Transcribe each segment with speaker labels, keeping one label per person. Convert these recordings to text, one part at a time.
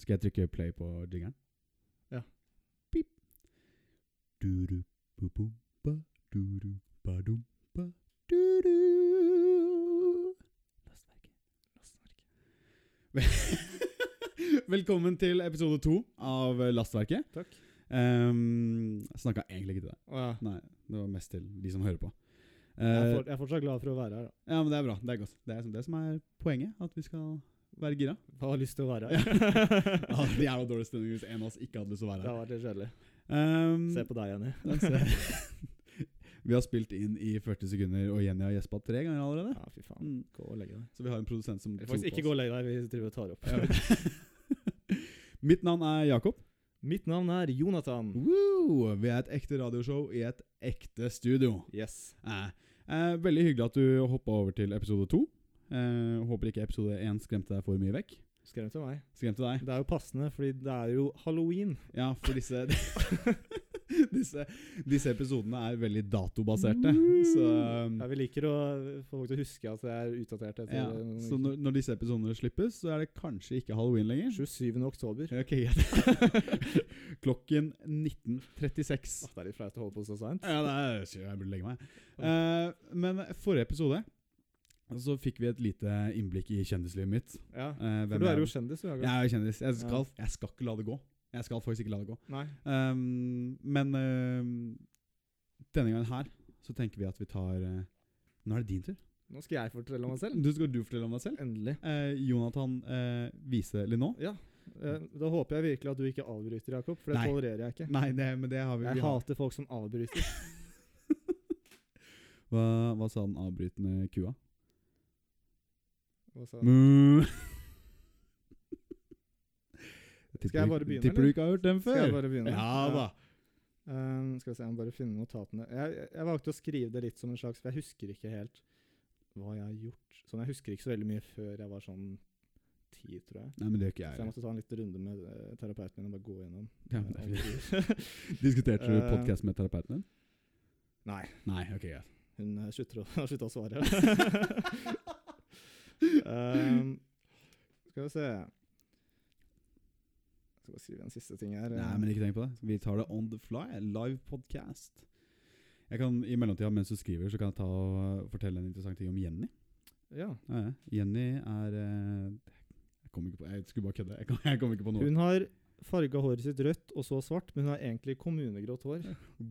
Speaker 1: Skal jeg trykke play på jingeren?
Speaker 2: Ja.
Speaker 1: Pip. Du-du, bu-bum, ba, du-du, ba-dum, ba, du-du. Lastverket. Vel- Velkommen til episode to av Lastverket.
Speaker 2: Takk.
Speaker 1: Um, jeg snakka egentlig ikke til deg.
Speaker 2: Å, ja.
Speaker 1: Nei, det var mest til de som hører på.
Speaker 2: jeg, er
Speaker 1: Eh,
Speaker 2: for, jeg er fortsatt glad for å være her. da.
Speaker 1: ja, men det er bra. Det er godt. Det er som- det som er poenget. At vi skal være gira.
Speaker 2: Jeg har lyst til å være
Speaker 1: Ja.
Speaker 2: her.
Speaker 1: Ja, det er jo dårlig stemning hvis en av oss ikke hadde lyst til å
Speaker 2: Det
Speaker 1: være her.
Speaker 2: har vært litt kjedelig.
Speaker 1: Um,
Speaker 2: Se på deg, Jenny.
Speaker 1: ja, se. vi har spilt inn i 40 sekunder, og Jenny har gjespa tre ganger allerede.
Speaker 2: Ja, fy faen.
Speaker 1: Mm.
Speaker 2: Gå og legge deg.
Speaker 1: Så vi har en produsent som
Speaker 2: Eller faktisk ikke gå og legge deg, vi driver og tar opp.
Speaker 1: Mitt navn er Jakob.
Speaker 2: Mitt navn er Jonathan.
Speaker 1: Woo! Vi er et ekte radioshow i et ekte studio.
Speaker 2: Yes.
Speaker 1: Eh, eh, veldig hyggelig at du hoppa over til episode to. Eh, håper ikke episode én skremte deg for mye vekk.
Speaker 2: Skremt av meg.
Speaker 1: Skremte deg?
Speaker 2: Det er jo passende, fordi det er jo halloween.
Speaker 1: Ja, for disse Disse, disse episodene er veldig datobaserte. Så, um,
Speaker 2: Ja, vi liker å få folk til å huske at det er utdatert etter
Speaker 1: Mm. ja,
Speaker 2: noen
Speaker 1: så når, når disse episodene slippes, så er det kanskje ikke halloween lenger.
Speaker 2: 27. oktober.
Speaker 1: Ok, greit. Klokken 19.36.
Speaker 2: Åh, det er litt flaut å holde på så seint.
Speaker 1: Ja, det er, shit, jeg burde legge meg. Eh, men forrige episode så fikk vi et lite innblikk i kjendislivet mitt.
Speaker 2: Ja.
Speaker 1: Eh, hvem
Speaker 2: For du er
Speaker 1: jeg
Speaker 2: jo kjendis, du. Jakob.
Speaker 1: Jeg er jo kjendis. Jeg
Speaker 2: Ja.
Speaker 1: skal, jeg skal ikke la det gå. Jeg skal faktisk ikke la det gå.
Speaker 2: Nei.
Speaker 1: Ehm, men ehm, denne gangen her så tenker vi at vi tar eh, Nå er det din tur.
Speaker 2: Nå skal jeg fortelle om meg selv.
Speaker 1: Du skal du fortelle om deg selv.
Speaker 2: Endelig.
Speaker 1: Eh, Jonathan eh, Vise Linå.
Speaker 2: Ja. eh, Da håper jeg virkelig at du ikke avbryter, Jakob, for det
Speaker 1: Nei.
Speaker 2: tolererer jeg ikke.
Speaker 1: Nei, det, men det har vi. vi
Speaker 2: Jeg
Speaker 1: har.
Speaker 2: hater folk som avbryter.
Speaker 1: Hva, hva sa den avbrytende kua?
Speaker 2: Hva sa-
Speaker 1: Mu.
Speaker 2: Skal jeg bare begynne,
Speaker 1: Tipper du ikke har hørt den før?
Speaker 2: Skal jeg bare begynne?
Speaker 1: Ja da.
Speaker 2: Eh, skal vi se, jeg må bare finne notatene. Jeg, jeg- jeg valgte å skrive det litt som en slags For jeg husker ikke helt hva jeg har gjort. Sånn, Jeg husker ikke så veldig mye før jeg var sånn ti, tror jeg.
Speaker 1: Nei, men det gjør ikke
Speaker 2: Så
Speaker 1: jeg.
Speaker 2: jeg
Speaker 1: heller.
Speaker 2: måtte ta en liten runde med eh, terapeuten min og bare gå gjennom.
Speaker 1: Ja, men det er fint.
Speaker 2: eh, alt.
Speaker 1: Diskuterte du
Speaker 2: Eh.
Speaker 1: podkast med terapeuten din?
Speaker 2: Nei.
Speaker 1: Nei, ok, greit.
Speaker 2: Hun eh, slutter å, har sluttet å svare. um, skal vi se Jeg skal bare skrive en siste ting her.
Speaker 1: Nei, men ikke tenk på det. Vi tar det on the fly. Live podcast. Jeg kan, I mellomtida, mens du skriver, så kan jeg ta og øh, fortelle en interessant ting om Jenny.
Speaker 2: ja.
Speaker 1: Ja, ja. Jenny er øh, Jeg kom ikke på Jeg skulle bare kødde. Jeg kom, jeg kom ikke på noe.
Speaker 2: Hun har farga håret sitt rødt og så svart, men hun har egentlig kommunegrått hår.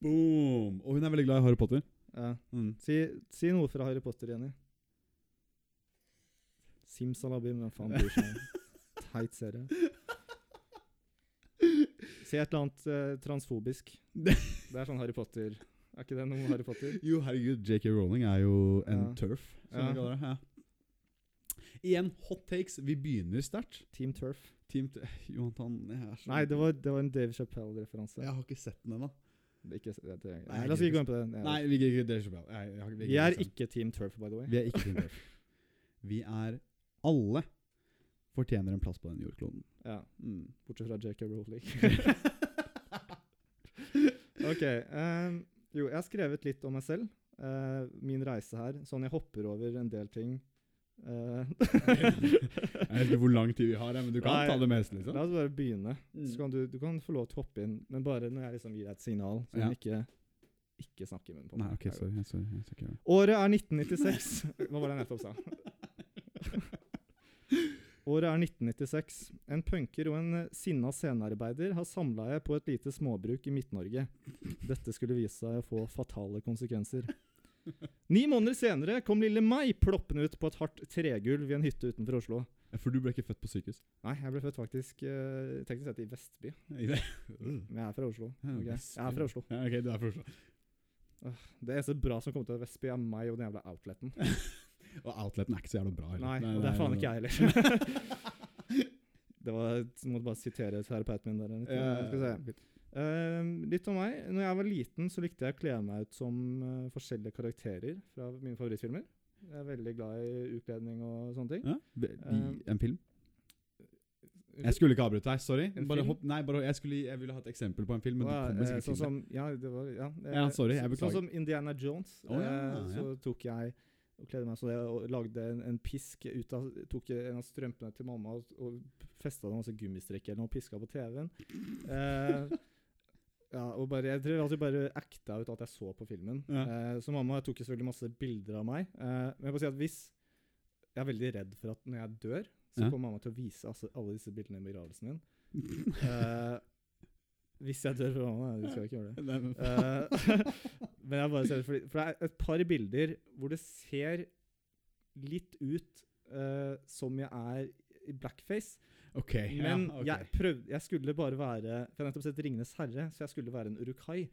Speaker 1: Boom! Og hun er veldig glad i Harry Potter.
Speaker 2: Ja.
Speaker 1: Mm.
Speaker 2: si, si noe fra Harry Potter, Jenny. Simsalabim, hvem faen bryr seg? om? Teit serie. Si et eller annet eh, transfobisk. Det er sånn Harry Potter Er ikke det noe Harry Potter?
Speaker 1: Jo, herregud, JK Rowling er jo en
Speaker 2: Ja.
Speaker 1: turf, som
Speaker 2: Ja.
Speaker 1: vi kaller det. Ja. Igjen, hot takes. Vi begynner sterkt.
Speaker 2: Team Turf.
Speaker 1: Team t Jonathan jeg er så-
Speaker 2: Nei, det var, det var en Dave Chappelle-referanse.
Speaker 1: Jeg har ikke sett den ennå.
Speaker 2: Ikke, det, det, nei,
Speaker 1: Nei,
Speaker 2: la oss
Speaker 1: jeg
Speaker 2: ikke gå inn på det. Nei,
Speaker 1: Nei, vi gidder ikke Dave Chappelle. Jeg- jeg har ikke- vi
Speaker 2: vi
Speaker 1: gidder
Speaker 2: er
Speaker 1: ikke se den.
Speaker 2: ikke Team Turf, by the way.
Speaker 1: Vi er ikke Team Turf. Vi er alle fortjener en plass på den jordkloden.
Speaker 2: Ja,
Speaker 1: Mm.
Speaker 2: Bortsett fra JK Rowling. ok. ehm, jo, jeg har skrevet litt om meg selv. eh, min reise her. Sånn jeg hopper over en del ting. Eh,
Speaker 1: Jeg vet ikke hvor lang tid vi har, her, men du kan
Speaker 2: Nei.
Speaker 1: ta det meste.
Speaker 2: la
Speaker 1: liksom.
Speaker 2: oss bare begynne.
Speaker 1: Mm.
Speaker 2: Så kan du, du kan få lov til å hoppe inn, men bare når jeg liksom gir deg et signal. Så
Speaker 1: Ja.
Speaker 2: du ikke, ikke snakker i munnen på
Speaker 1: Nei,
Speaker 2: meg.
Speaker 1: ok, sorry. Jeg, sorry, jeg skal ikke gjøre det.
Speaker 2: Året er 1996. Hva var det jeg nettopp sa? Året er 1996. En punker og en eh, sinna scenearbeider har samleie på et lite småbruk i Midt-Norge. Dette skulle vise seg å få fatale konsekvenser. Ni måneder senere kom lille meg ploppende ut på et hardt tregulv i en hytte utenfor Oslo.
Speaker 1: For du ble ikke født på sykehus?
Speaker 2: Nei, jeg ble født faktisk eh, teknisk sett i Vestby, men jeg er fra Oslo.
Speaker 1: Ja,
Speaker 2: ok? Jeg er fra Oslo.
Speaker 1: Ja, ok, du er fra Oslo.
Speaker 2: Det eneste bra som kom til Vestby, er meg og den jævla outleten.
Speaker 1: Og outleten er ikke så jævla bra. heller.
Speaker 2: Nei, og det er faen ikke jeg heller. det var, jeg måtte bare sitere terapeuten min der. Litt, skal vi se. Ehm, litt om meg. Når jeg var liten, så likte jeg å kle meg ut som eh, forskjellige karakterer fra mine favorittfilmer. Jeg er veldig glad i utkledning og sånne ting.
Speaker 1: Ja, vi-
Speaker 2: Um,
Speaker 1: vi- en film? Jeg
Speaker 2: Unnskyld?
Speaker 1: skulle ikke avbryte deg, sorry.
Speaker 2: En
Speaker 1: Bare
Speaker 2: film?
Speaker 1: hopp, nei, bare, jeg, skulle, jeg ville ha et eksempel på en film, men du
Speaker 2: Og, eh,
Speaker 1: kommer sikkert til
Speaker 2: sånn
Speaker 1: det.
Speaker 2: som, ja, det var, ja, eh,
Speaker 1: Ja, sorry, jeg
Speaker 2: så-
Speaker 1: beklager.
Speaker 2: Sånn som Indiana Jones,
Speaker 1: Å, ja,
Speaker 2: eh,
Speaker 1: ja.
Speaker 2: så tok jeg og kledde meg sånn. Jeg og lagde en, en pisk ut av Tok en av strømpene til mamma og, og festa det masse gummistrekker eller noe og piska på TV-en. Eh, ja, og bare, jeg tror alltid bare acta ut at jeg så på filmen.
Speaker 1: Ja.
Speaker 2: Eh, så mamma tok jo selvfølgelig masse bilder av meg. Eh, men jeg bare sier at hvis Jeg er veldig redd for at når jeg dør, så
Speaker 1: Ja.
Speaker 2: kommer mamma til å vise altså, alle disse bildene i begravelsen min. Eh, hvis jeg dør for mamma, da skal jeg ikke gjøre det.
Speaker 1: Nei, men faen.
Speaker 2: Eh, men jeg bare ser det fordi, For det er et par bilder hvor det ser litt ut eh, som jeg er i blackface.
Speaker 1: OK. ja,
Speaker 2: Men
Speaker 1: ok.
Speaker 2: jeg prøvde, jeg skulle bare være For jeg har nettopp sett 'Ringenes herre', så jeg skulle være en urukai.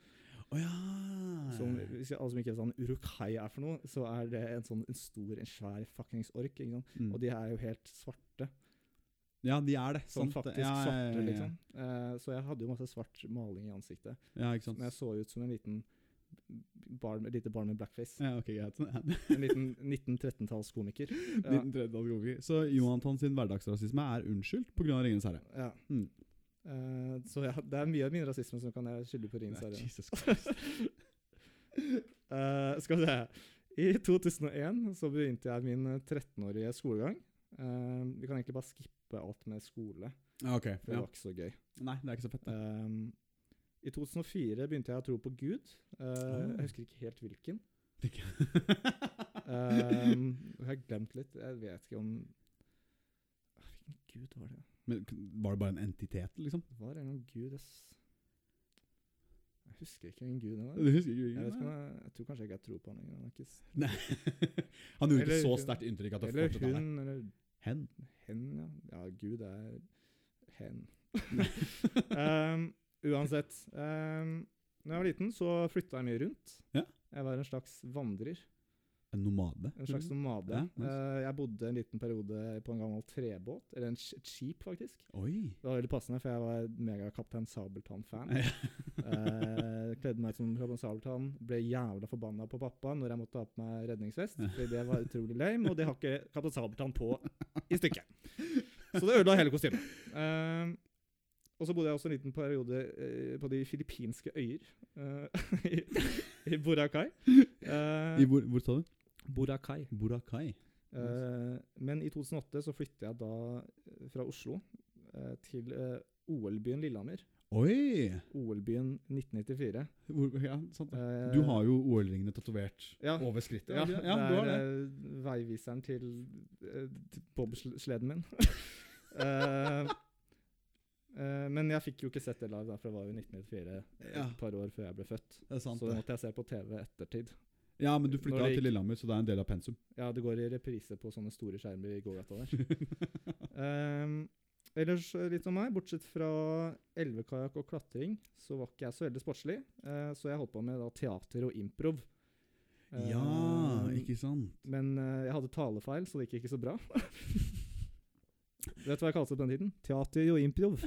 Speaker 1: Å Ah, ja.
Speaker 2: Som, hvis jeg, alle som ikke vet hva en urukai er for noe, så er det en sånn en stor, en svær fuckings ork. Ikke sant?
Speaker 1: Mm.
Speaker 2: Og de er jo helt svarte.
Speaker 1: ja, de er det.
Speaker 2: Sånn
Speaker 1: sant det.
Speaker 2: faktisk
Speaker 1: ja, ja, ja,
Speaker 2: svarte,
Speaker 1: ja.
Speaker 2: liksom. Eh, så jeg hadde jo masse svart maling i ansiktet.
Speaker 1: Ja, ikke sant.
Speaker 2: Men jeg så ut som en liten barn, et lite barn med blackface.
Speaker 1: Ja, ok, greit.
Speaker 2: En liten 1913-tallskomiker. Ja.
Speaker 1: 1930-tallet komiker. Så Jonathan sin hverdagsrasisme er unnskyldt pga. Ringenes herre.
Speaker 2: Ja.
Speaker 1: Mm.
Speaker 2: Eh, så ja, det er mye av min rasisme som kan jeg skylde på Ringens
Speaker 1: Nei,
Speaker 2: herre.
Speaker 1: Jesus Christ.
Speaker 2: Eh, skal vi se. I 2001 så begynte jeg min eh, 13-årige skolegang. Eh, vi kan egentlig bare skippe alt med skole,
Speaker 1: Ja, ok.
Speaker 2: for det
Speaker 1: Ja.
Speaker 2: var ikke så gøy.
Speaker 1: Nei, det er ikke så fett. det.
Speaker 2: Eh, I 2004 begynte jeg å tro på Gud. Eh,
Speaker 1: Ah.
Speaker 2: Jeg husker ikke helt hvilken.
Speaker 1: Ikke.
Speaker 2: Eh, jeg har glemt litt. Jeg vet ikke om Ah, Hvilken gud var det?
Speaker 1: Men k- var det bare en entitet, liksom?
Speaker 2: Det var en eller annen gud jeg s- Jeg husker ikke hvilken gud det var.
Speaker 1: Du husker ikke
Speaker 2: Jeg, vet ikke om
Speaker 1: Nei.
Speaker 2: jeg, jeg tror kanskje ikke jeg tror på han lenger. Han er ikke, s-
Speaker 1: Nei. Han gjorde ikke
Speaker 2: Eller
Speaker 1: så
Speaker 2: hun.
Speaker 1: sterkt inntrykk at det
Speaker 2: eller
Speaker 1: fortsatt er der.
Speaker 2: hun, eller
Speaker 1: Hen.
Speaker 2: hen, ja. Ja, Gud er hen. um, uansett. Um, når jeg var liten, så flytta jeg mye rundt.
Speaker 1: Ja.
Speaker 2: Jeg var en slags vandrer.
Speaker 1: En nomade.
Speaker 2: En slags
Speaker 1: liksom.
Speaker 2: nomade.
Speaker 1: Ja, nice.
Speaker 2: Eh, jeg bodde en liten periode på en gammel trebåt, eller en sk- et skip, faktisk.
Speaker 1: Oi.
Speaker 2: Det var veldig passende, for jeg var megakaptein Sabeltann-fan.
Speaker 1: Ja.
Speaker 2: Eh, kledde meg ut som Kaptein Sabeltann. Ble jævla forbanna på pappa når jeg måtte ha på meg redningsvest. Fordi det var utrolig lame, og det har ikke Kaptein Sabeltann på i stykket. Så det ødela hele kostymet. Eh, og så bodde jeg også en liten periode eh, på de filippinske øyer, eh, i, i Boracay. Eh,
Speaker 1: I hvor, hvor sa du?
Speaker 2: Boracay.
Speaker 1: Boracay.
Speaker 2: Eh, men i 2008 så flyttet jeg da eh, fra Oslo eh, til eh, OL-byen Lillehammer.
Speaker 1: Oi!
Speaker 2: OL-byen 1994.
Speaker 1: Hvor, ja, sant det.
Speaker 2: Eh,
Speaker 1: Du har jo OL-ringene tatovert
Speaker 2: ja.
Speaker 1: over skrittet.
Speaker 2: ja,
Speaker 1: har du ikke det?
Speaker 2: det
Speaker 1: ja, du
Speaker 2: er
Speaker 1: har det.
Speaker 2: eh, veiviseren til eh, til bobsleden min. Eh, eh, men jeg fikk jo ikke sett det live, da, for det var jo 1994,
Speaker 1: Ja.
Speaker 2: et par år før jeg ble født.
Speaker 1: Det er sant,
Speaker 2: så det
Speaker 1: det.
Speaker 2: måtte jeg se på TV ettertid.
Speaker 1: Ja, men du
Speaker 2: når
Speaker 1: flytta
Speaker 2: det
Speaker 1: til
Speaker 2: gikk-
Speaker 1: Lillehammer, så det er en del av pensum.
Speaker 2: Ja, det går i reprise på sånne store skjermer i gågata der. Ehm, ellers eh, litt om meg. Bortsett fra elvekajakk og klatring, så var ikke jeg så veldig sportslig. Eh, så jeg holdt på med da, teater og improv.
Speaker 1: Ja,
Speaker 2: Ehm,
Speaker 1: ikke sant?
Speaker 2: Men eh, jeg hadde talefeil, så det gikk ikke så bra. Vet du hva jeg kalte det på den tiden? Teater og improv.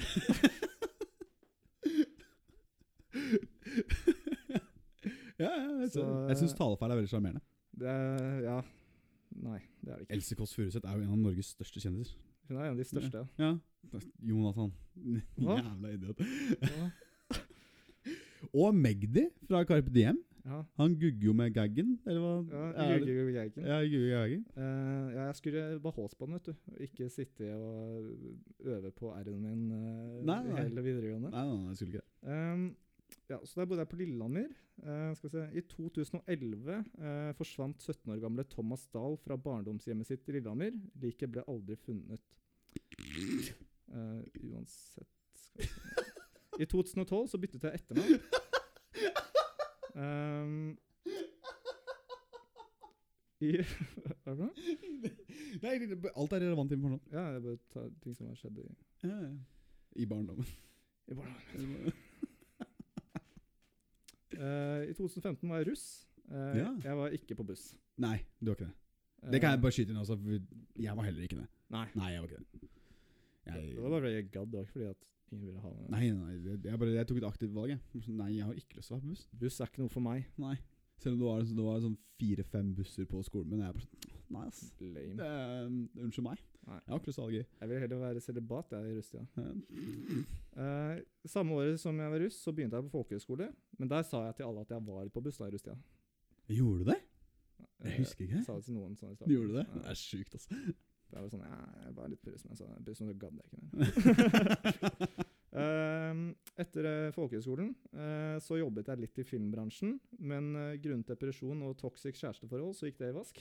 Speaker 1: Ja, ja, jeg,
Speaker 2: Så,
Speaker 1: ser det. jeg syns talefeil er veldig sjarmerende.
Speaker 2: Det er, ja. Nei, det er det ikke.
Speaker 1: Else Kåss Furuseth er jo en av Norges største kjendiser.
Speaker 2: Hun er en av de største.
Speaker 1: Ja. Jonathan.
Speaker 2: Hva?
Speaker 1: Jævla idiot.
Speaker 2: Ja.
Speaker 1: Og Magdi fra Carpe Diem.
Speaker 2: Ja.
Speaker 1: Han gugger jo med gaggen, eller hva?
Speaker 2: Ja,
Speaker 1: er det?
Speaker 2: Jørgen Geiken.
Speaker 1: Ja, gugger med gaggen.
Speaker 2: Eh, ja, jeg skulle bare håse på den, vet du. og Ikke sitte og øve på r-en min eh,
Speaker 1: Nei, nei.
Speaker 2: hele videregående.
Speaker 1: Nei, nei, nei, jeg skulle ikke det.
Speaker 2: Ehm, ja, så der bodde jeg på Lillehammer. Eh, skal vi se. I 2011 eh, forsvant 17 år gamle Thomas Dahl fra barndomshjemmet sitt i Lillehammer. Liket ble aldri funnet. Eh, uansett skal vi se. I 2012 så byttet jeg etternavn. Ehm, i, Hva er det for noe?
Speaker 1: Nei, det- alt er relevant informasjon.
Speaker 2: Ja, jeg bare tar ting som har skjedd i,
Speaker 1: Ja, ja. I barndommen.
Speaker 2: i barnehagen. Eh, I 2015 var jeg russ. Eh,
Speaker 1: Ja.
Speaker 2: Jeg var ikke på buss.
Speaker 1: Nei, du var ikke det. Det kan jeg
Speaker 2: Eh,
Speaker 1: bare skyte inn også. for Jeg var heller ikke det.
Speaker 2: Nei.
Speaker 1: Nei, jeg var ikke det. Jeg,
Speaker 2: Det var bare fordi jeg gadd, det var ikke fordi at ingen ville ha meg.
Speaker 1: nei, nei, det- jeg, bare, jeg tok et aktivt valg. Jeg. Nei, jeg har ikke lyst til å være på buss.
Speaker 2: Buss er ikke noe for meg.
Speaker 1: Nei. Selv om det var, det var sånn fire-fem busser på skolen min. og Jeg bare sånn, Nei, ass. Det,
Speaker 2: Lame.
Speaker 1: er- unnskyld meg.
Speaker 2: Mm. Nei.
Speaker 1: Jeg har ikke lyst til å ha det gøy.
Speaker 2: Jeg ville heller være celibat jeg, i russetida.
Speaker 1: Eh,
Speaker 2: Eh, samme året som jeg var russ, så begynte jeg på folkehøyskole. Men der sa jeg til alle at jeg var på buss da i russetida.
Speaker 1: Gjorde du det? Jeg husker ikke.
Speaker 2: Jeg Eh, sa det til noen sånn i starten.
Speaker 1: Gjorde du det?
Speaker 2: Ja.
Speaker 1: Det er sjukt, altså.
Speaker 2: Det er jo sånn, ja, jeg var litt purus, men så, purus, men så gadd jeg ikke mer. Ehm, etter eh, folkehøyskolen eh, så jobbet jeg litt i filmbransjen, men eh, grunnet depresjon og toxic kjæresteforhold så gikk det i vask.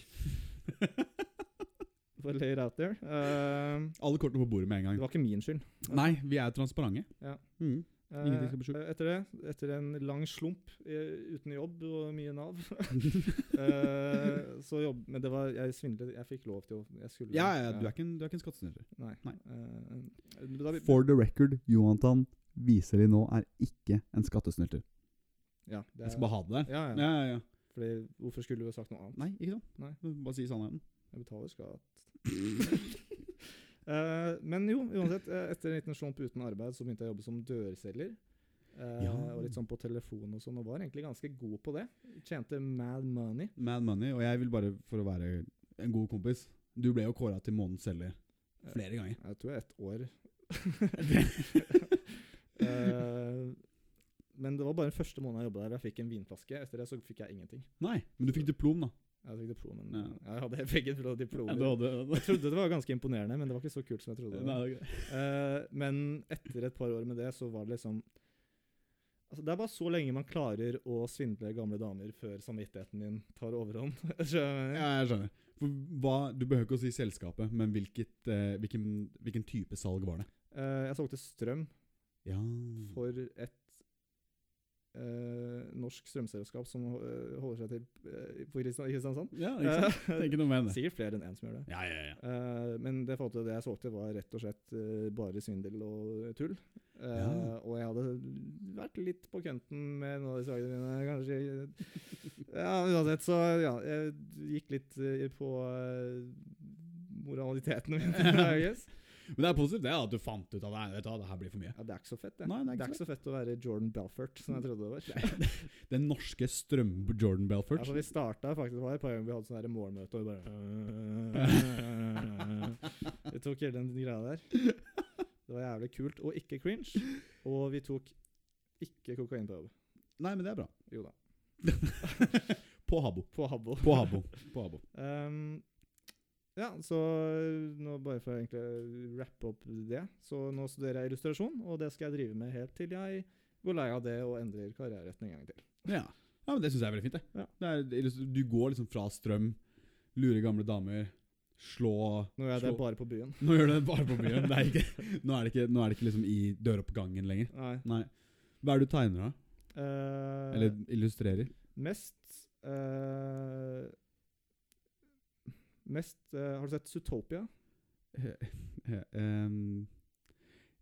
Speaker 2: For lay it out there. Ehm,
Speaker 1: Alle kortene på bordet med en
Speaker 2: det
Speaker 1: gang.
Speaker 2: var ikke min skyld.
Speaker 1: Nei, vi er transparente.
Speaker 2: Ja.
Speaker 1: Mm.
Speaker 2: Eh,
Speaker 1: Ingenting skal bli skjult.
Speaker 2: Etter det, etter en lang slump eh, uten jobb og mye Nav eh, Så jobb, Men det var, jeg svindlet, jeg fikk lov til å jeg skulle,
Speaker 1: Ja, ja, du er ikke en, du er ikke en skattesnyter.
Speaker 2: Nei.
Speaker 1: Nei.
Speaker 2: Eh, da, vi-
Speaker 1: For the record, Johantan Viseli nå er ikke en skattesnylter.
Speaker 2: ja, det
Speaker 1: Jeg
Speaker 2: er-
Speaker 1: skal bare ha det der.
Speaker 2: ja, ja.
Speaker 1: Ja, ja, ja.
Speaker 2: Fordi, hvorfor skulle du ha sagt noe annet?
Speaker 1: Nei, ikke sant?
Speaker 2: Nei.
Speaker 1: Bare si sannheten.
Speaker 2: Jeg betaler skatt. Eh, men jo, uansett. eh, Etter en liten slump uten arbeid så begynte jeg å jobbe som dørselger. Eh,
Speaker 1: Ja.
Speaker 2: Og litt sånn på telefon og sånn, og var egentlig ganske god på det. Tjente mad money.
Speaker 1: Mad Money, og jeg vil bare, for å være en god kompis Du ble jo kåra til månedens selger flere ganger.
Speaker 2: Jeg tror jeg ett år. Eh, men det var bare den første måneden jeg jobbet der, og jeg fikk en vinflaske. Etter det så fikk jeg ingenting.
Speaker 1: Nei, men du fikk diplom, da.
Speaker 2: Jeg fikk diplom, men
Speaker 1: Ja.
Speaker 2: jeg hadde begge diplomer.
Speaker 1: hadde
Speaker 2: Jeg trodde det var ganske imponerende, men det var ikke så kult som jeg trodde.
Speaker 1: Nei, det er greit.
Speaker 2: Eh, men etter et par år med det, så var det liksom Altså, det er bare så lenge man klarer å svindle gamle damer før samvittigheten din tar overhånd. Skjønner du?
Speaker 1: Ja, jeg skjønner. For hva, du behøver ikke å si selskapet, men hvilket, eh, hvilken, hvilken type salg var det?
Speaker 2: Eh, jeg solgte strøm
Speaker 1: Ja
Speaker 2: for et eh, norsk strømselskap som eh, holder seg til eh, på Kristian- i Kristiansand.
Speaker 1: Ja, ikke sant? Det er ikke noe med
Speaker 2: Eh,
Speaker 1: det.
Speaker 2: Sikkert flere enn én som gjør det.
Speaker 1: Ja, ja, ja.
Speaker 2: Eh, men det, jeg fant ut, det jeg solgte, var rett og slett eh, bare svindel og tull. Eh,
Speaker 1: Ja.
Speaker 2: Og jeg hadde vært litt på kønten med noen av de sakene mine, kanskje. ja, uansett, så ja, jeg gikk litt eh, på eh, moraliteten min. I guess.
Speaker 1: Men det er positivt det at du fant ut at nei, vet du, hva, det her blir for mye.
Speaker 2: ja, det er ikke så fett, det.
Speaker 1: Nei, det er ikke
Speaker 2: så fett å være Jordan Belfort, som jeg trodde det var.
Speaker 1: Den norske strøm-Jordan Belfort.
Speaker 2: Altså, vi starta faktisk det var et par ganger vi hadde sånn her morgenmøte, og vi bare Vi tok hele den greia der. Det var jævlig kult, og ikke cringe. Og vi tok ikke kokain på jobb.
Speaker 1: Nei, men det er bra.
Speaker 2: Jo da.
Speaker 1: På Habbo.
Speaker 2: På Habbo.
Speaker 1: På Habbo. På Habbo.
Speaker 2: Ehm, ja, så nå bare for å egentlig rappe opp det Så nå studerer jeg illustrasjon, og det skal jeg drive med helt til jeg går lei av det og endrer karriereretning en gang til.
Speaker 1: Ja. ja, men det syns jeg er veldig fint. Det.
Speaker 2: Ja.
Speaker 1: Det er, det illustrer- du går liksom fra strøm, lure gamle damer, slå
Speaker 2: Nå gjør jeg det
Speaker 1: slå-
Speaker 2: bare på byen.
Speaker 1: Nå gjør du det bare på byen. Det er ikke, nå, er det ikke, nå er det ikke liksom i døroppgangen lenger.
Speaker 2: Nei.
Speaker 1: Nei. Hva er det du tegner, da?
Speaker 2: Eh,
Speaker 1: Eller illustrerer?
Speaker 2: Mest eh, Mest eh, Har du sett Zootopia?
Speaker 1: Eh, ehm,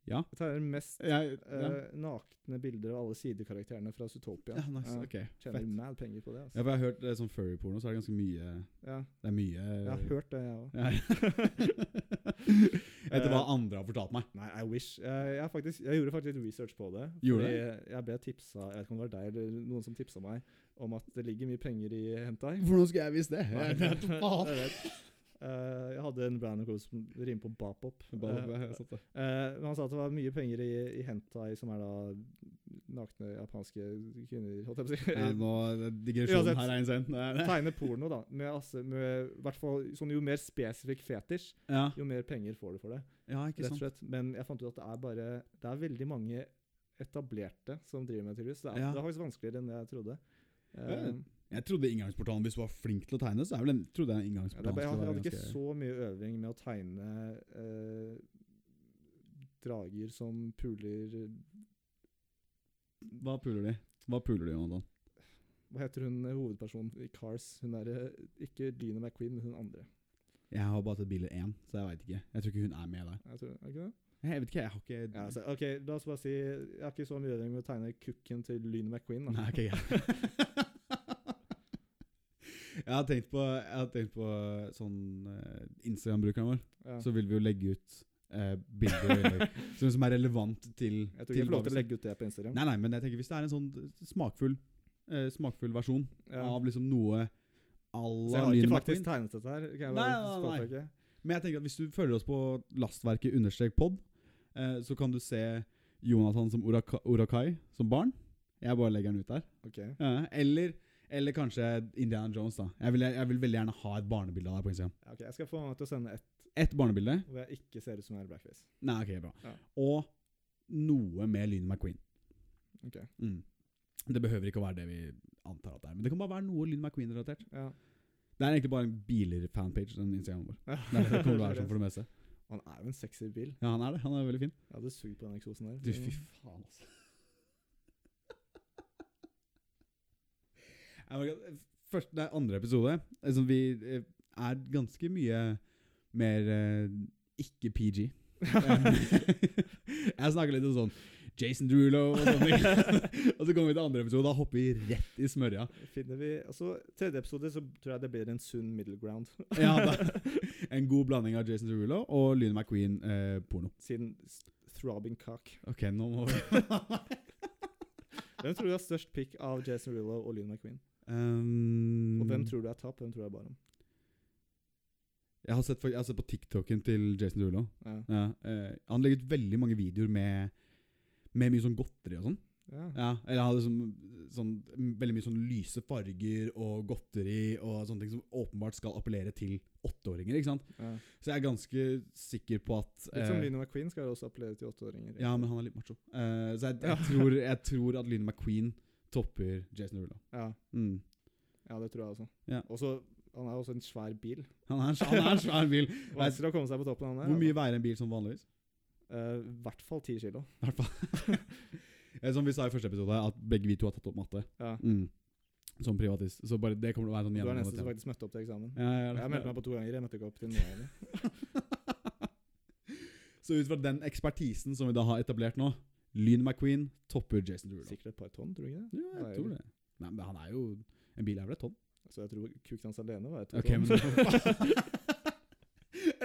Speaker 1: ja.
Speaker 2: Jeg tar mest
Speaker 1: Jeg,
Speaker 2: eh,
Speaker 1: ja.
Speaker 2: nakne bilder av alle sidekarakterene fra Zootopia.
Speaker 1: ja, nice.
Speaker 2: Ja,
Speaker 1: Ok.
Speaker 2: Tjener
Speaker 1: Fett.
Speaker 2: mad penger på
Speaker 1: Ja,
Speaker 2: det. Altså.
Speaker 1: for jeg har hørt eh, sånn furry-porno, så er det ganske mye
Speaker 2: Ja.
Speaker 1: Det er mye
Speaker 2: Jeg har hørt det, jeg òg.
Speaker 1: Ja. Etter hva andre har fortalt meg.
Speaker 2: Nei, I wish. Eh, Jeg, jeg, har faktisk, jeg gjorde faktisk litt research på det.
Speaker 1: Gjorde
Speaker 2: fordi Jeg ble tipsa Jeg vet ikke om det var deg eller noen som tipsa meg om at det ligger mye penger i hentai.
Speaker 1: Hvordan skulle jeg visst det?
Speaker 2: Nei,
Speaker 1: Jeg vet
Speaker 2: jeg
Speaker 1: faen.
Speaker 2: vet. Eh, jeg hadde en brand kode som rimer på bapop.
Speaker 1: Bare-
Speaker 2: Eh,
Speaker 1: jeg satt der.
Speaker 2: Eh, men han sa at det var mye penger i, i hentai, som er da nakne japanske kvinner holdt jeg på å si.
Speaker 1: Ja, nå, digresjonen
Speaker 2: Eh, Uansett.
Speaker 1: her er insane. Det er det.
Speaker 2: Tegne porno, da. Med, asse- med, hvert fall, sånn, jo mer spesifikk fetisj,
Speaker 1: Ja.
Speaker 2: jo mer penger får du for det.
Speaker 1: ja, ikke
Speaker 2: Rett og
Speaker 1: sant.
Speaker 2: slett. Men jeg fant ut at det er bare Det er veldig mange etablerte som driver med tydeligvis. Det er,
Speaker 1: Ja.
Speaker 2: det er faktisk vanskeligere enn jeg trodde. Eh,
Speaker 1: Ja, Jeg trodde inngangsportalen, hvis du var flink til å tegne, så er vel den, trodde jeg
Speaker 2: ja, det er
Speaker 1: inngangsportalen
Speaker 2: bare- jeg,
Speaker 1: skulle
Speaker 2: hadde, jeg
Speaker 1: være
Speaker 2: hadde ikke
Speaker 1: ganske-
Speaker 2: så mye øving med å tegne eh, drager som puler
Speaker 1: Hva puler de? Hva puler de, Jonathan?
Speaker 2: Hva heter hun eh, hovedpersonen i Cars? Hun er eh, ikke Dina McQueen, men hun andre.
Speaker 1: Jeg har bare tatt biler én, så jeg veit ikke. Jeg tror ikke hun er med der.
Speaker 2: Jeg tror, er ikke det?
Speaker 1: Jeg vet ikke, jeg har ikke
Speaker 2: Ja, altså, ok, La oss bare si Jeg har ikke så mye øving med å tegne kukken til Lyne McQueen. Da.
Speaker 1: Nei, ok, greit. Jeg har tenkt på, jeg har tenkt på sånn eh, Instagram-brukeren vår.
Speaker 2: Ja.
Speaker 1: Så vil vi jo legge ut eh, bilder og innlegg som, som er relevant til
Speaker 2: jeg tror ikke jeg får lov til å
Speaker 1: hva vi-
Speaker 2: legge ut det på Instagram.
Speaker 1: Nei, nei, men jeg tenker hvis det er en sånn smakfull, eh, smakfull versjon
Speaker 2: Ja.
Speaker 1: av liksom noe à
Speaker 2: Så
Speaker 1: la
Speaker 2: jeg har
Speaker 1: Lyden
Speaker 2: ikke
Speaker 1: av
Speaker 2: faktisk
Speaker 1: Queen.
Speaker 2: tegnet dette her. Kan jeg
Speaker 1: Nei,
Speaker 2: bare
Speaker 1: nei, nei, nei.
Speaker 2: påpeke.
Speaker 1: Men jeg tenker at hvis du følger oss på lastverket understrek pod, eh, så kan du se Jonathan som oraka- Orakai som barn. Jeg bare legger den ut der.
Speaker 2: Ok.
Speaker 1: Ja, eller Eller kanskje Indiana Jones, da. Jeg vil, jeg vil veldig gjerne ha et barnebilde av deg på Instagram.
Speaker 2: Ja, ok, Jeg skal få han til å sende et
Speaker 1: Ett barnebilde.
Speaker 2: hvor jeg ikke ser ut som jeg er blackface.
Speaker 1: Nei, ok, bra.
Speaker 2: Ja.
Speaker 1: Og noe med Lynet McQueen.
Speaker 2: Ok.
Speaker 1: Mm. Det behøver ikke å være det vi antar at det er, men det kan bare være noe Lynet McQueen-relatert.
Speaker 2: Ja.
Speaker 1: Det er egentlig bare en biler-fanpage, den Instagramen vår.
Speaker 2: Ja.
Speaker 1: Det er det det kommer til å være sånn for det meste.
Speaker 2: Han er jo en sexy bil.
Speaker 1: Ja, han er det. Han er veldig fin.
Speaker 2: Jeg hadde sugd på den eksosen der.
Speaker 1: Du, fy faen, altså. Jeg merker at Først, det er andre episode. Altså, vi eh, er ganske mye mer eh, ikke PG. Enn- jeg snakker litt om sånn Jason Drulo og sånne ting. og så kommer vi til andre episode, da hopper vi rett i smørja.
Speaker 2: Finner vi Altså, tredje episode så tror jeg det blir en sunn middle ground.
Speaker 1: Ja, da. En god blanding av Jason Drulo og Lyne McQueen eh, porno.
Speaker 2: Siden s- throbbing cock.
Speaker 1: Ok, nå må vi
Speaker 2: Hvem tror du har størst pick av Jason Rillo og Lyn McQueen?
Speaker 1: um,
Speaker 2: Og hvem tror du er tap, hvem tror du er barom?
Speaker 1: Jeg har sett, for, jeg har sett på TikToken til Jason Drulo.
Speaker 2: Ja.
Speaker 1: Ja, eh, han legger ut veldig mange videoer med, med mye sånn godteri og sånn.
Speaker 2: Ja.
Speaker 1: Ja, eller han hadde sånn, sånn, m- veldig mye sånn lyse farger og godteri og sånne ting som åpenbart skal appellere til åtteåringer. ikke sant?
Speaker 2: Ja.
Speaker 1: Så jeg er ganske sikker på at
Speaker 2: Litt som
Speaker 1: eh,
Speaker 2: Lyn McQueen skal også appellere til åtteåringer.
Speaker 1: Ja, men han er litt macho. Eh, så jeg, jeg, tror, jeg tror at Lyne McQueen topper Jason Rulo.
Speaker 2: Ja,
Speaker 1: Mm.
Speaker 2: ja, det tror jeg også.
Speaker 1: Ja.
Speaker 2: Og så han er også en svær bil.
Speaker 1: Han er en sv- han er en svær bil.
Speaker 2: Vanskelig å komme seg på toppen av den der.
Speaker 1: Hvor mye veier en bil som vanligvis?
Speaker 2: Eh, I hvert fall ti kilo.
Speaker 1: I hvert fall. Eh, som vi sa i første episode, at begge vi to har tatt opp matte.
Speaker 2: Ja.
Speaker 1: Mm. Som privatist. Så bare det kommer til å være sånn
Speaker 2: Du er den eneste som
Speaker 1: gjennomgående tema.
Speaker 2: faktisk møtte opp til eksamen.
Speaker 1: Ja, ja, ja.
Speaker 2: Jeg meldte meg på to ganger, jeg møtte ikke opp til noen av dem.
Speaker 1: Så ut fra den ekspertisen som vi da har etablert nå, Lyn McQueen topper Jason Derulo.
Speaker 2: Sikkert et par tonn, tror du ikke det?
Speaker 1: Ja, jeg tror det. Nei, men han er jo En bil er vel et tonn?
Speaker 2: Altså, jeg tror kuken hans alene var et
Speaker 1: Ok, men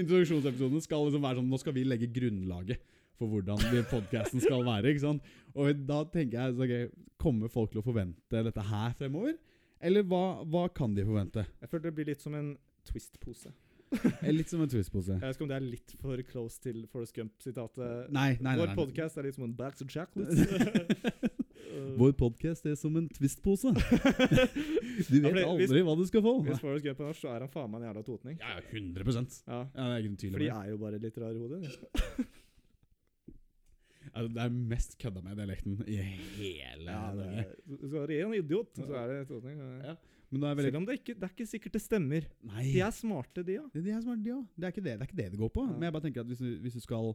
Speaker 1: Introduksjonsepisoden skal liksom være sånn Nå skal vi legge grunnlaget for hvordan podkasten skal være. ikke sant? Og da tenker jeg så, ok, Kommer folk til å forvente dette her fremover? Eller hva, hva kan de forvente?
Speaker 2: Jeg føler det blir litt som en twist-pose.
Speaker 1: Eh, Litt som en twistpose.
Speaker 2: Jeg vet ikke om det er litt for close til Forrest Gump-sitatet.
Speaker 1: Nei, nei, nei.
Speaker 2: Vår
Speaker 1: nei.
Speaker 2: podcast er litt som en back to
Speaker 1: Vår
Speaker 2: Eh,
Speaker 1: podkast er som en twistpose. Du
Speaker 2: Ja,
Speaker 1: vet
Speaker 2: fordi hvis-
Speaker 1: aldri hva du skal få.
Speaker 2: Hvis Forrest Gump er norsk, så er han faen meg en jævla totning.
Speaker 1: Ja, ja, 100 ja,
Speaker 2: Ja.
Speaker 1: Det er ikke noen tvil
Speaker 2: For
Speaker 1: om
Speaker 2: de
Speaker 1: det.
Speaker 2: er jo bare litt rare i hodet.
Speaker 1: Altså, Det er mest kødda med dialekten i hele
Speaker 2: Ja, det
Speaker 1: Norge.
Speaker 2: er, så er det en idiot, så er det totning.
Speaker 1: Ja. Men da er veldig
Speaker 2: Selv om det ikke, det er ikke sikkert det stemmer.
Speaker 1: Nei.
Speaker 2: De er smarte, de, ja.
Speaker 1: Det, det, er smart, ja. det, er ikke det, det er ikke det det går på.
Speaker 2: Ja.
Speaker 1: Men jeg bare tenker at hvis du, hvis du skal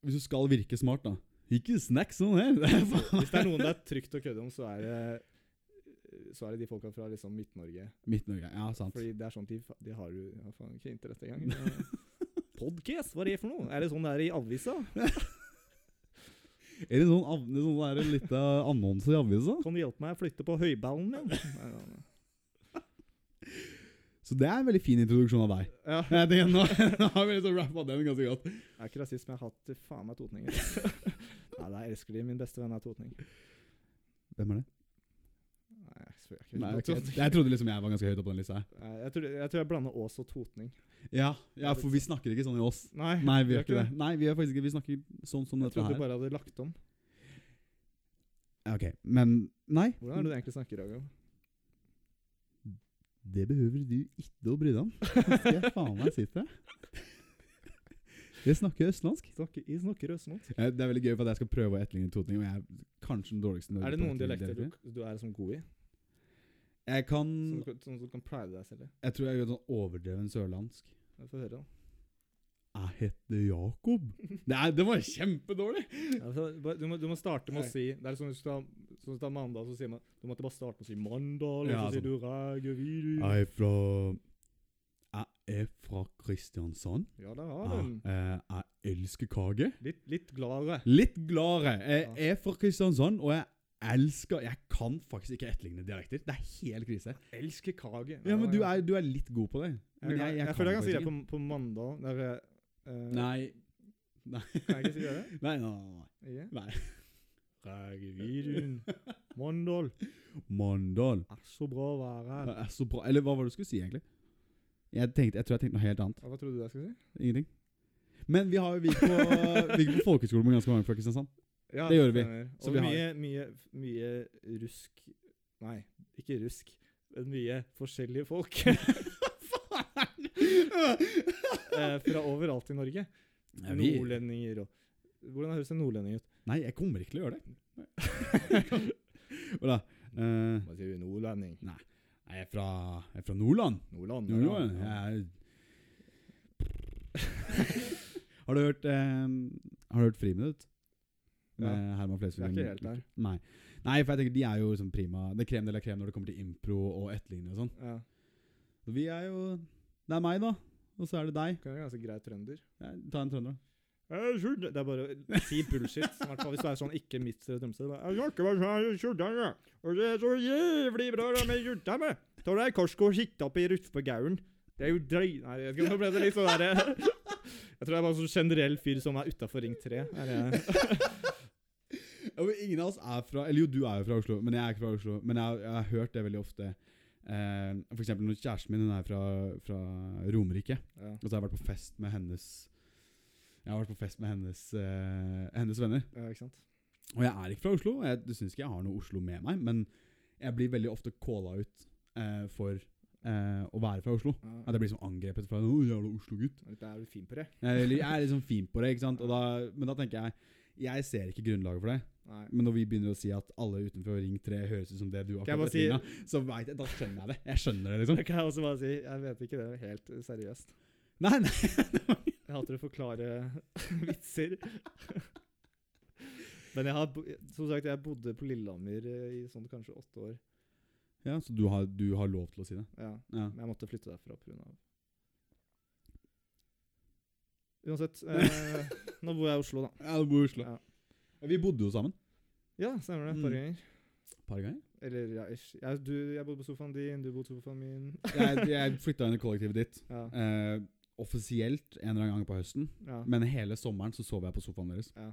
Speaker 1: Hvis du skal virke smart, da Ikke snakk sånn her! Det er faen
Speaker 2: Hvis det er noen det er trygt å kødde om, så er det, så er det de folka fra liksom Midt-Norge.
Speaker 1: Midt-Norge. Ja, sant.
Speaker 2: Fordi det er sånn de, fa- de har jo ja, faen ikke internett engang. Podcast, hva er det for noe? Er det sånn det er i avisa?
Speaker 1: Er det sånn, av- det er sånn der lita annonse i avisa?
Speaker 2: Kan du hjelpe meg å flytte på høyballen min? Nei, nei, nei.
Speaker 1: Så det er en veldig fin introduksjon av deg.
Speaker 2: Ja,
Speaker 1: Jeg tenker, nå, nå har vi liksom rappa den ganske godt.
Speaker 2: jeg er ikke rasist, men jeg har hatt faen meg totninger. Nei, det er elsker de. Min beste venn er totning.
Speaker 1: Hvem er det?
Speaker 2: Nei, jeg spør- jeg er ikke
Speaker 1: Nei,
Speaker 2: noe
Speaker 1: ok. jeg,
Speaker 2: totning.
Speaker 1: jeg trodde liksom jeg var ganske høyt oppe på den lista. her.
Speaker 2: Nei, Jeg tror, jeg tror jeg blander Ås og totning.
Speaker 1: Ja, ja, for vi snakker ikke sånn i oss.
Speaker 2: Nei,
Speaker 1: Nei, vi
Speaker 2: jeg
Speaker 1: gjør ikke det. Nei, vi gjør faktisk ikke Vi snakker sånn som
Speaker 2: Jeg
Speaker 1: dette
Speaker 2: trodde
Speaker 1: her.
Speaker 2: du bare hadde lagt om.
Speaker 1: Ok, men nei.
Speaker 2: Hvordan er det du egentlig snakker i dag?
Speaker 1: Det behøver du ikke å bry deg om. Det skal jeg faen meg si til deg. Jeg snakker østlandsk.
Speaker 2: Snakker, jeg snakker østnorsk.
Speaker 1: Eh, Det er veldig gøy for at jeg skal prøve å etterligne totning, og jeg er kanskje den dårligste i Norge
Speaker 2: Er det
Speaker 1: på
Speaker 2: noen dialekter du,
Speaker 1: etterligne
Speaker 2: du er som god i?
Speaker 1: Jeg kan
Speaker 2: Som du, kan- som du kan pride deg selv i?
Speaker 1: Jeg tror jeg gjør sånn overdreven sørlandsk.
Speaker 2: Jeg får høre, da.
Speaker 1: Jeg heter Jakob. Det, er, det var kjempedårlig!
Speaker 2: Ja, så bare- Du må, du må starte med å
Speaker 1: Nei.
Speaker 2: si Det er sånn hvis du tar, sånn hvis du tar mandag, så sier man Du måtte bare starte med å si mandal, og så
Speaker 1: Ja,
Speaker 2: sier
Speaker 1: sånn.
Speaker 2: du regevidu.
Speaker 1: Jeg er fra Jeg er fra Kristiansand.
Speaker 2: Ja, der har du den.
Speaker 1: Eh, jeg elsker kake.
Speaker 2: Litt, litt gladere.
Speaker 1: Litt gladere. Jeg
Speaker 2: Ja.
Speaker 1: er fra Kristiansand, og jeg elsker Jeg kan faktisk ikke etterligne dialekter. Det er helt krise.
Speaker 2: Elsker kage.
Speaker 1: Ja, men du er, du er litt god på det.
Speaker 2: Jeg,
Speaker 1: Men
Speaker 2: kan- jeg, føler jeg kan si det
Speaker 1: faktisk
Speaker 2: på, på mandal. Der, eh,
Speaker 1: ikke. Nei. Nei.
Speaker 2: Kan jeg ikke si det?
Speaker 1: Nei, nei, nei,
Speaker 2: Ikke?
Speaker 1: nei.
Speaker 2: Regevidun. Mandal.
Speaker 1: nei. Mandal.
Speaker 2: Er så bra å være her.
Speaker 1: Det er så bra. Eller hva var det du skulle si, egentlig? Jeg, tenkte, jeg tror jeg tenkte noe helt annet.
Speaker 2: Ja, Hva trodde du jeg skulle si?
Speaker 1: Ingenting. Men vi har jo vi gikk på, vi gikk på folkeskole med ganske mange fra Kristiansand.
Speaker 2: Ja,
Speaker 1: Det gjorde vi.
Speaker 2: stemmer.
Speaker 1: Så
Speaker 2: Og
Speaker 1: vi har-
Speaker 2: mye, mye, mye rusk Nei, ikke rusk. Men mye forskjellige folk eh, fra overalt i Norge.
Speaker 1: Ja, vi-
Speaker 2: Nordlendinger og Hvordan høres en nordlending ut?
Speaker 1: Nei, jeg kommer ikke til å gjøre det. Hva da? Eh,
Speaker 2: Hva sier du? Nordlending?
Speaker 1: nei, jeg er fra, jeg er fra Nordland.
Speaker 2: Nordland?
Speaker 1: Nordland.
Speaker 2: ja.
Speaker 1: Jeg er Har du hørt eh, Har du hørt Friminutt? Med Herman
Speaker 2: Vi er
Speaker 1: Flesvig.
Speaker 2: ikke helt der.
Speaker 1: Nei. Nei, for jeg tenker de er jo liksom prima Det er krem de la krem når det kommer til impro og etterligning og sånn.
Speaker 2: Ja.
Speaker 1: Så vi er jo Det er meg, da. Og så er det deg.
Speaker 2: Kan være ganske grei trønder.
Speaker 1: Ja, Ta en trønder, da.
Speaker 2: Eh, skjul- Det er bare å si bullshit. I hvert fall hvis du er sånn ikke midt i Tromsø. det er bare, «Jeg snakker bare sånn, «Stjørdal, ja. Og det er så jævlig bra det med Stjørdal, ja. Tar deg en korsk og sitter opp i Rutspegauren. Det er jo drøy... Nei, jeg vet ikke, nå ble det litt sånn der eh, Jeg tror det er bare en sånn generell fyr som er utafor Ring 3. Er det,
Speaker 1: Ja, men ingen av oss er fra Eller jo, du er jo fra Oslo, men jeg er ikke fra Oslo. Men jeg, jeg har hørt det veldig ofte. Eh, for eksempel når kjæresten min hun er fra, fra Romerike,
Speaker 2: ja.
Speaker 1: og så har Altså, jeg vært på fest med hennes Jeg har vært på fest med hennes, eh, hennes venner.
Speaker 2: ja, ikke sant?
Speaker 1: Og jeg er ikke fra Oslo, og jeg du syns ikke jeg har noe Oslo med meg, men jeg blir veldig ofte calla ut eh, for eh, å være fra Oslo. At
Speaker 2: Ja,
Speaker 1: jeg blir som angrepet fra en jævla Oslo-gutt.
Speaker 2: det er jo fin på det.
Speaker 1: Jeg, jeg er liksom fin på det, ikke sant? Og da, men da tenker jeg jeg ser ikke grunnlaget for det.
Speaker 2: Nei.
Speaker 1: Men når vi begynner å si at alle utenfor Ring 3 høres ut som det du
Speaker 2: Kan jeg
Speaker 1: akkurat
Speaker 2: bare
Speaker 1: si,
Speaker 2: si-
Speaker 1: så vet jeg, da skjønner jeg det. Jeg skjønner det, liksom.
Speaker 2: Jeg kan også bare si, jeg vet ikke det er helt seriøst.
Speaker 1: Nei, nei.
Speaker 2: Jeg hater å forklare vitser. Men jeg har, bo- som sagt, jeg bodde på Lillehammer eh, i sånn kanskje åtte år.
Speaker 1: Ja, Så du har, du har lov til å si det?
Speaker 2: Ja,
Speaker 1: Ja.
Speaker 2: men jeg måtte flytte derfra pga. Uansett, eh, nå bor jeg i Oslo, da.
Speaker 1: ja du bor i Oslo.
Speaker 2: Ja.
Speaker 1: Vi bodde jo sammen.
Speaker 2: Ja, stemmer det. Et par
Speaker 1: Mm.
Speaker 2: ganger.
Speaker 1: Et par ganger.
Speaker 2: Eller ja, ish. Jeg, du, jeg bodde på sofaen din, du bodde på sofaen min.
Speaker 1: Jeg, jeg flytta inn i kollektivet ditt.
Speaker 2: Ja,
Speaker 1: Eh, offisielt en eller annen gang på høsten,
Speaker 2: ja.
Speaker 1: men hele sommeren så sov jeg på sofaen deres.
Speaker 2: ja.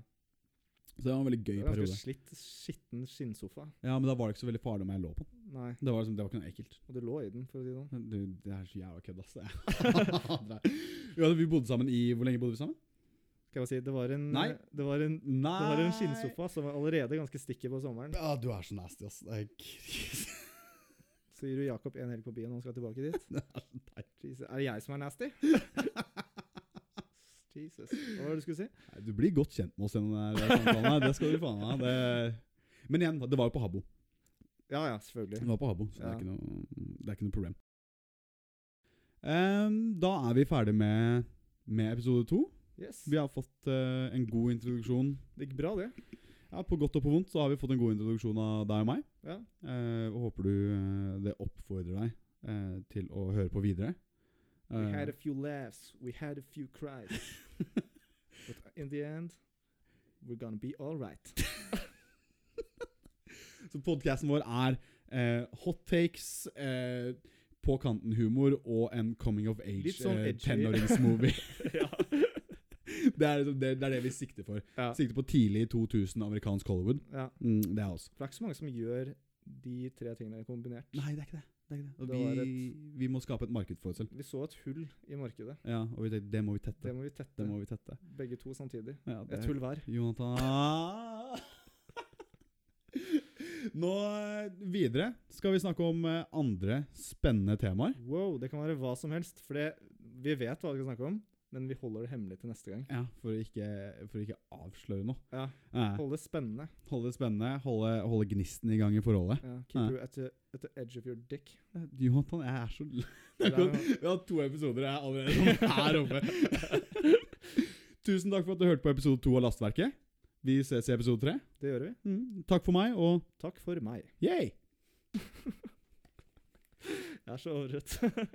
Speaker 1: Så det var en veldig
Speaker 2: Det
Speaker 1: gøy
Speaker 2: var ganske
Speaker 1: periode.
Speaker 2: slitt, skitten skinnsofa.
Speaker 1: Ja, Men da var det ikke så veldig farlig om jeg lå på den.
Speaker 2: Nei,
Speaker 1: Det var, liksom, det var ikke noe ekkelt.
Speaker 2: og du lå i den, for å si det sånn.
Speaker 1: Men Du, det er så jævla kødd, ass. Jeg hater deg. Ja, vi bodde sammen i Hvor lenge bodde vi sammen?
Speaker 2: Skal jeg bare si, det var en,
Speaker 1: Nei.
Speaker 2: Det var en,
Speaker 1: Nei
Speaker 2: det var en skinnsofa som var allerede ganske stikker på sommeren.
Speaker 1: Ja, du er så nasty, ass. Det er krise.
Speaker 2: Så gir du Jakob en helg på byen og han skal tilbake dit. Jesus. Er det jeg som er nasty? Jesus. Hva var det du skulle si?
Speaker 1: Nei, Du blir godt kjent med oss gjennom den her samtalen. her. Det skal du faen meg. Det... Men igjen, det var jo på Habbo.
Speaker 2: Ja, ja,
Speaker 1: Det
Speaker 2: selvfølgelig.
Speaker 1: var på Habbo, så det,
Speaker 2: Ja.
Speaker 1: er ikke noe, mm, det er ikke noe problem. Ehm, da er vi ferdig med, med episode to.
Speaker 2: Yes.
Speaker 1: Vi har fått eh, en god introduksjon.
Speaker 2: Det gikk bra, det.
Speaker 1: Ja, På godt og på vondt så har vi fått en god introduksjon av deg og meg.
Speaker 2: Ja.
Speaker 1: Eh, og håper du eh, det oppfordrer deg eh, til å høre på videre.
Speaker 2: We had
Speaker 1: Eh,
Speaker 2: a few laughs, we had a few cries. But in the end, we're gonna be all right.
Speaker 1: Så podcasten vår er eh, hot takes, eh, på kanten humor og en coming of age
Speaker 2: Litt sånn
Speaker 1: eh,
Speaker 2: edgy.
Speaker 1: tenåringsmovie.
Speaker 2: ja.
Speaker 1: det, er liksom, det, det er det vi sikter for.
Speaker 2: Ja.
Speaker 1: Sikter på tidlig 2000 amerikansk Hollywood.
Speaker 2: ja.
Speaker 1: Mm, det er oss.
Speaker 2: For det er ikke så mange som gjør de tre tingene kombinert.
Speaker 1: Nei, det er ikke det. det, er ikke det. Og
Speaker 2: Det var
Speaker 1: vi, vi må skape et marked for oss selv.
Speaker 2: Vi så et hull i markedet.
Speaker 1: Ja, og vi tenkte, det må vi
Speaker 2: Det
Speaker 1: tette.
Speaker 2: må vi tette.
Speaker 1: Det må vi tette.
Speaker 2: Begge to samtidig.
Speaker 1: Ja, det-
Speaker 2: Et hull hver.
Speaker 1: Jonathan Nå eh, videre skal vi snakke om eh, andre spennende temaer.
Speaker 2: Wow, det kan være hva som helst. For det, vi vet hva vi skal snakke om, men vi holder det hemmelig til neste gang.
Speaker 1: Ja, for å ikke, for å ikke avsløre noe.
Speaker 2: Ja,
Speaker 1: Eh,
Speaker 2: Hold det spennende.
Speaker 1: Holde det spennende, holde, holde gnisten i gang i forholdet.
Speaker 2: Ja, keep
Speaker 1: Ja.
Speaker 2: you at the, at the edge of your dick.
Speaker 1: Eh, Jonathan, jeg er så l-
Speaker 2: Det er jo-
Speaker 1: Vi har to episoder, jeg er allerede sånn her oppe. Tusen takk for at du hørte på episode to av Lastverket. Vi ses i episode tre.
Speaker 2: Det gjør vi.
Speaker 1: Mm, takk for meg, og
Speaker 2: Takk for meg.
Speaker 1: yay!
Speaker 2: Jeg er så overrødt.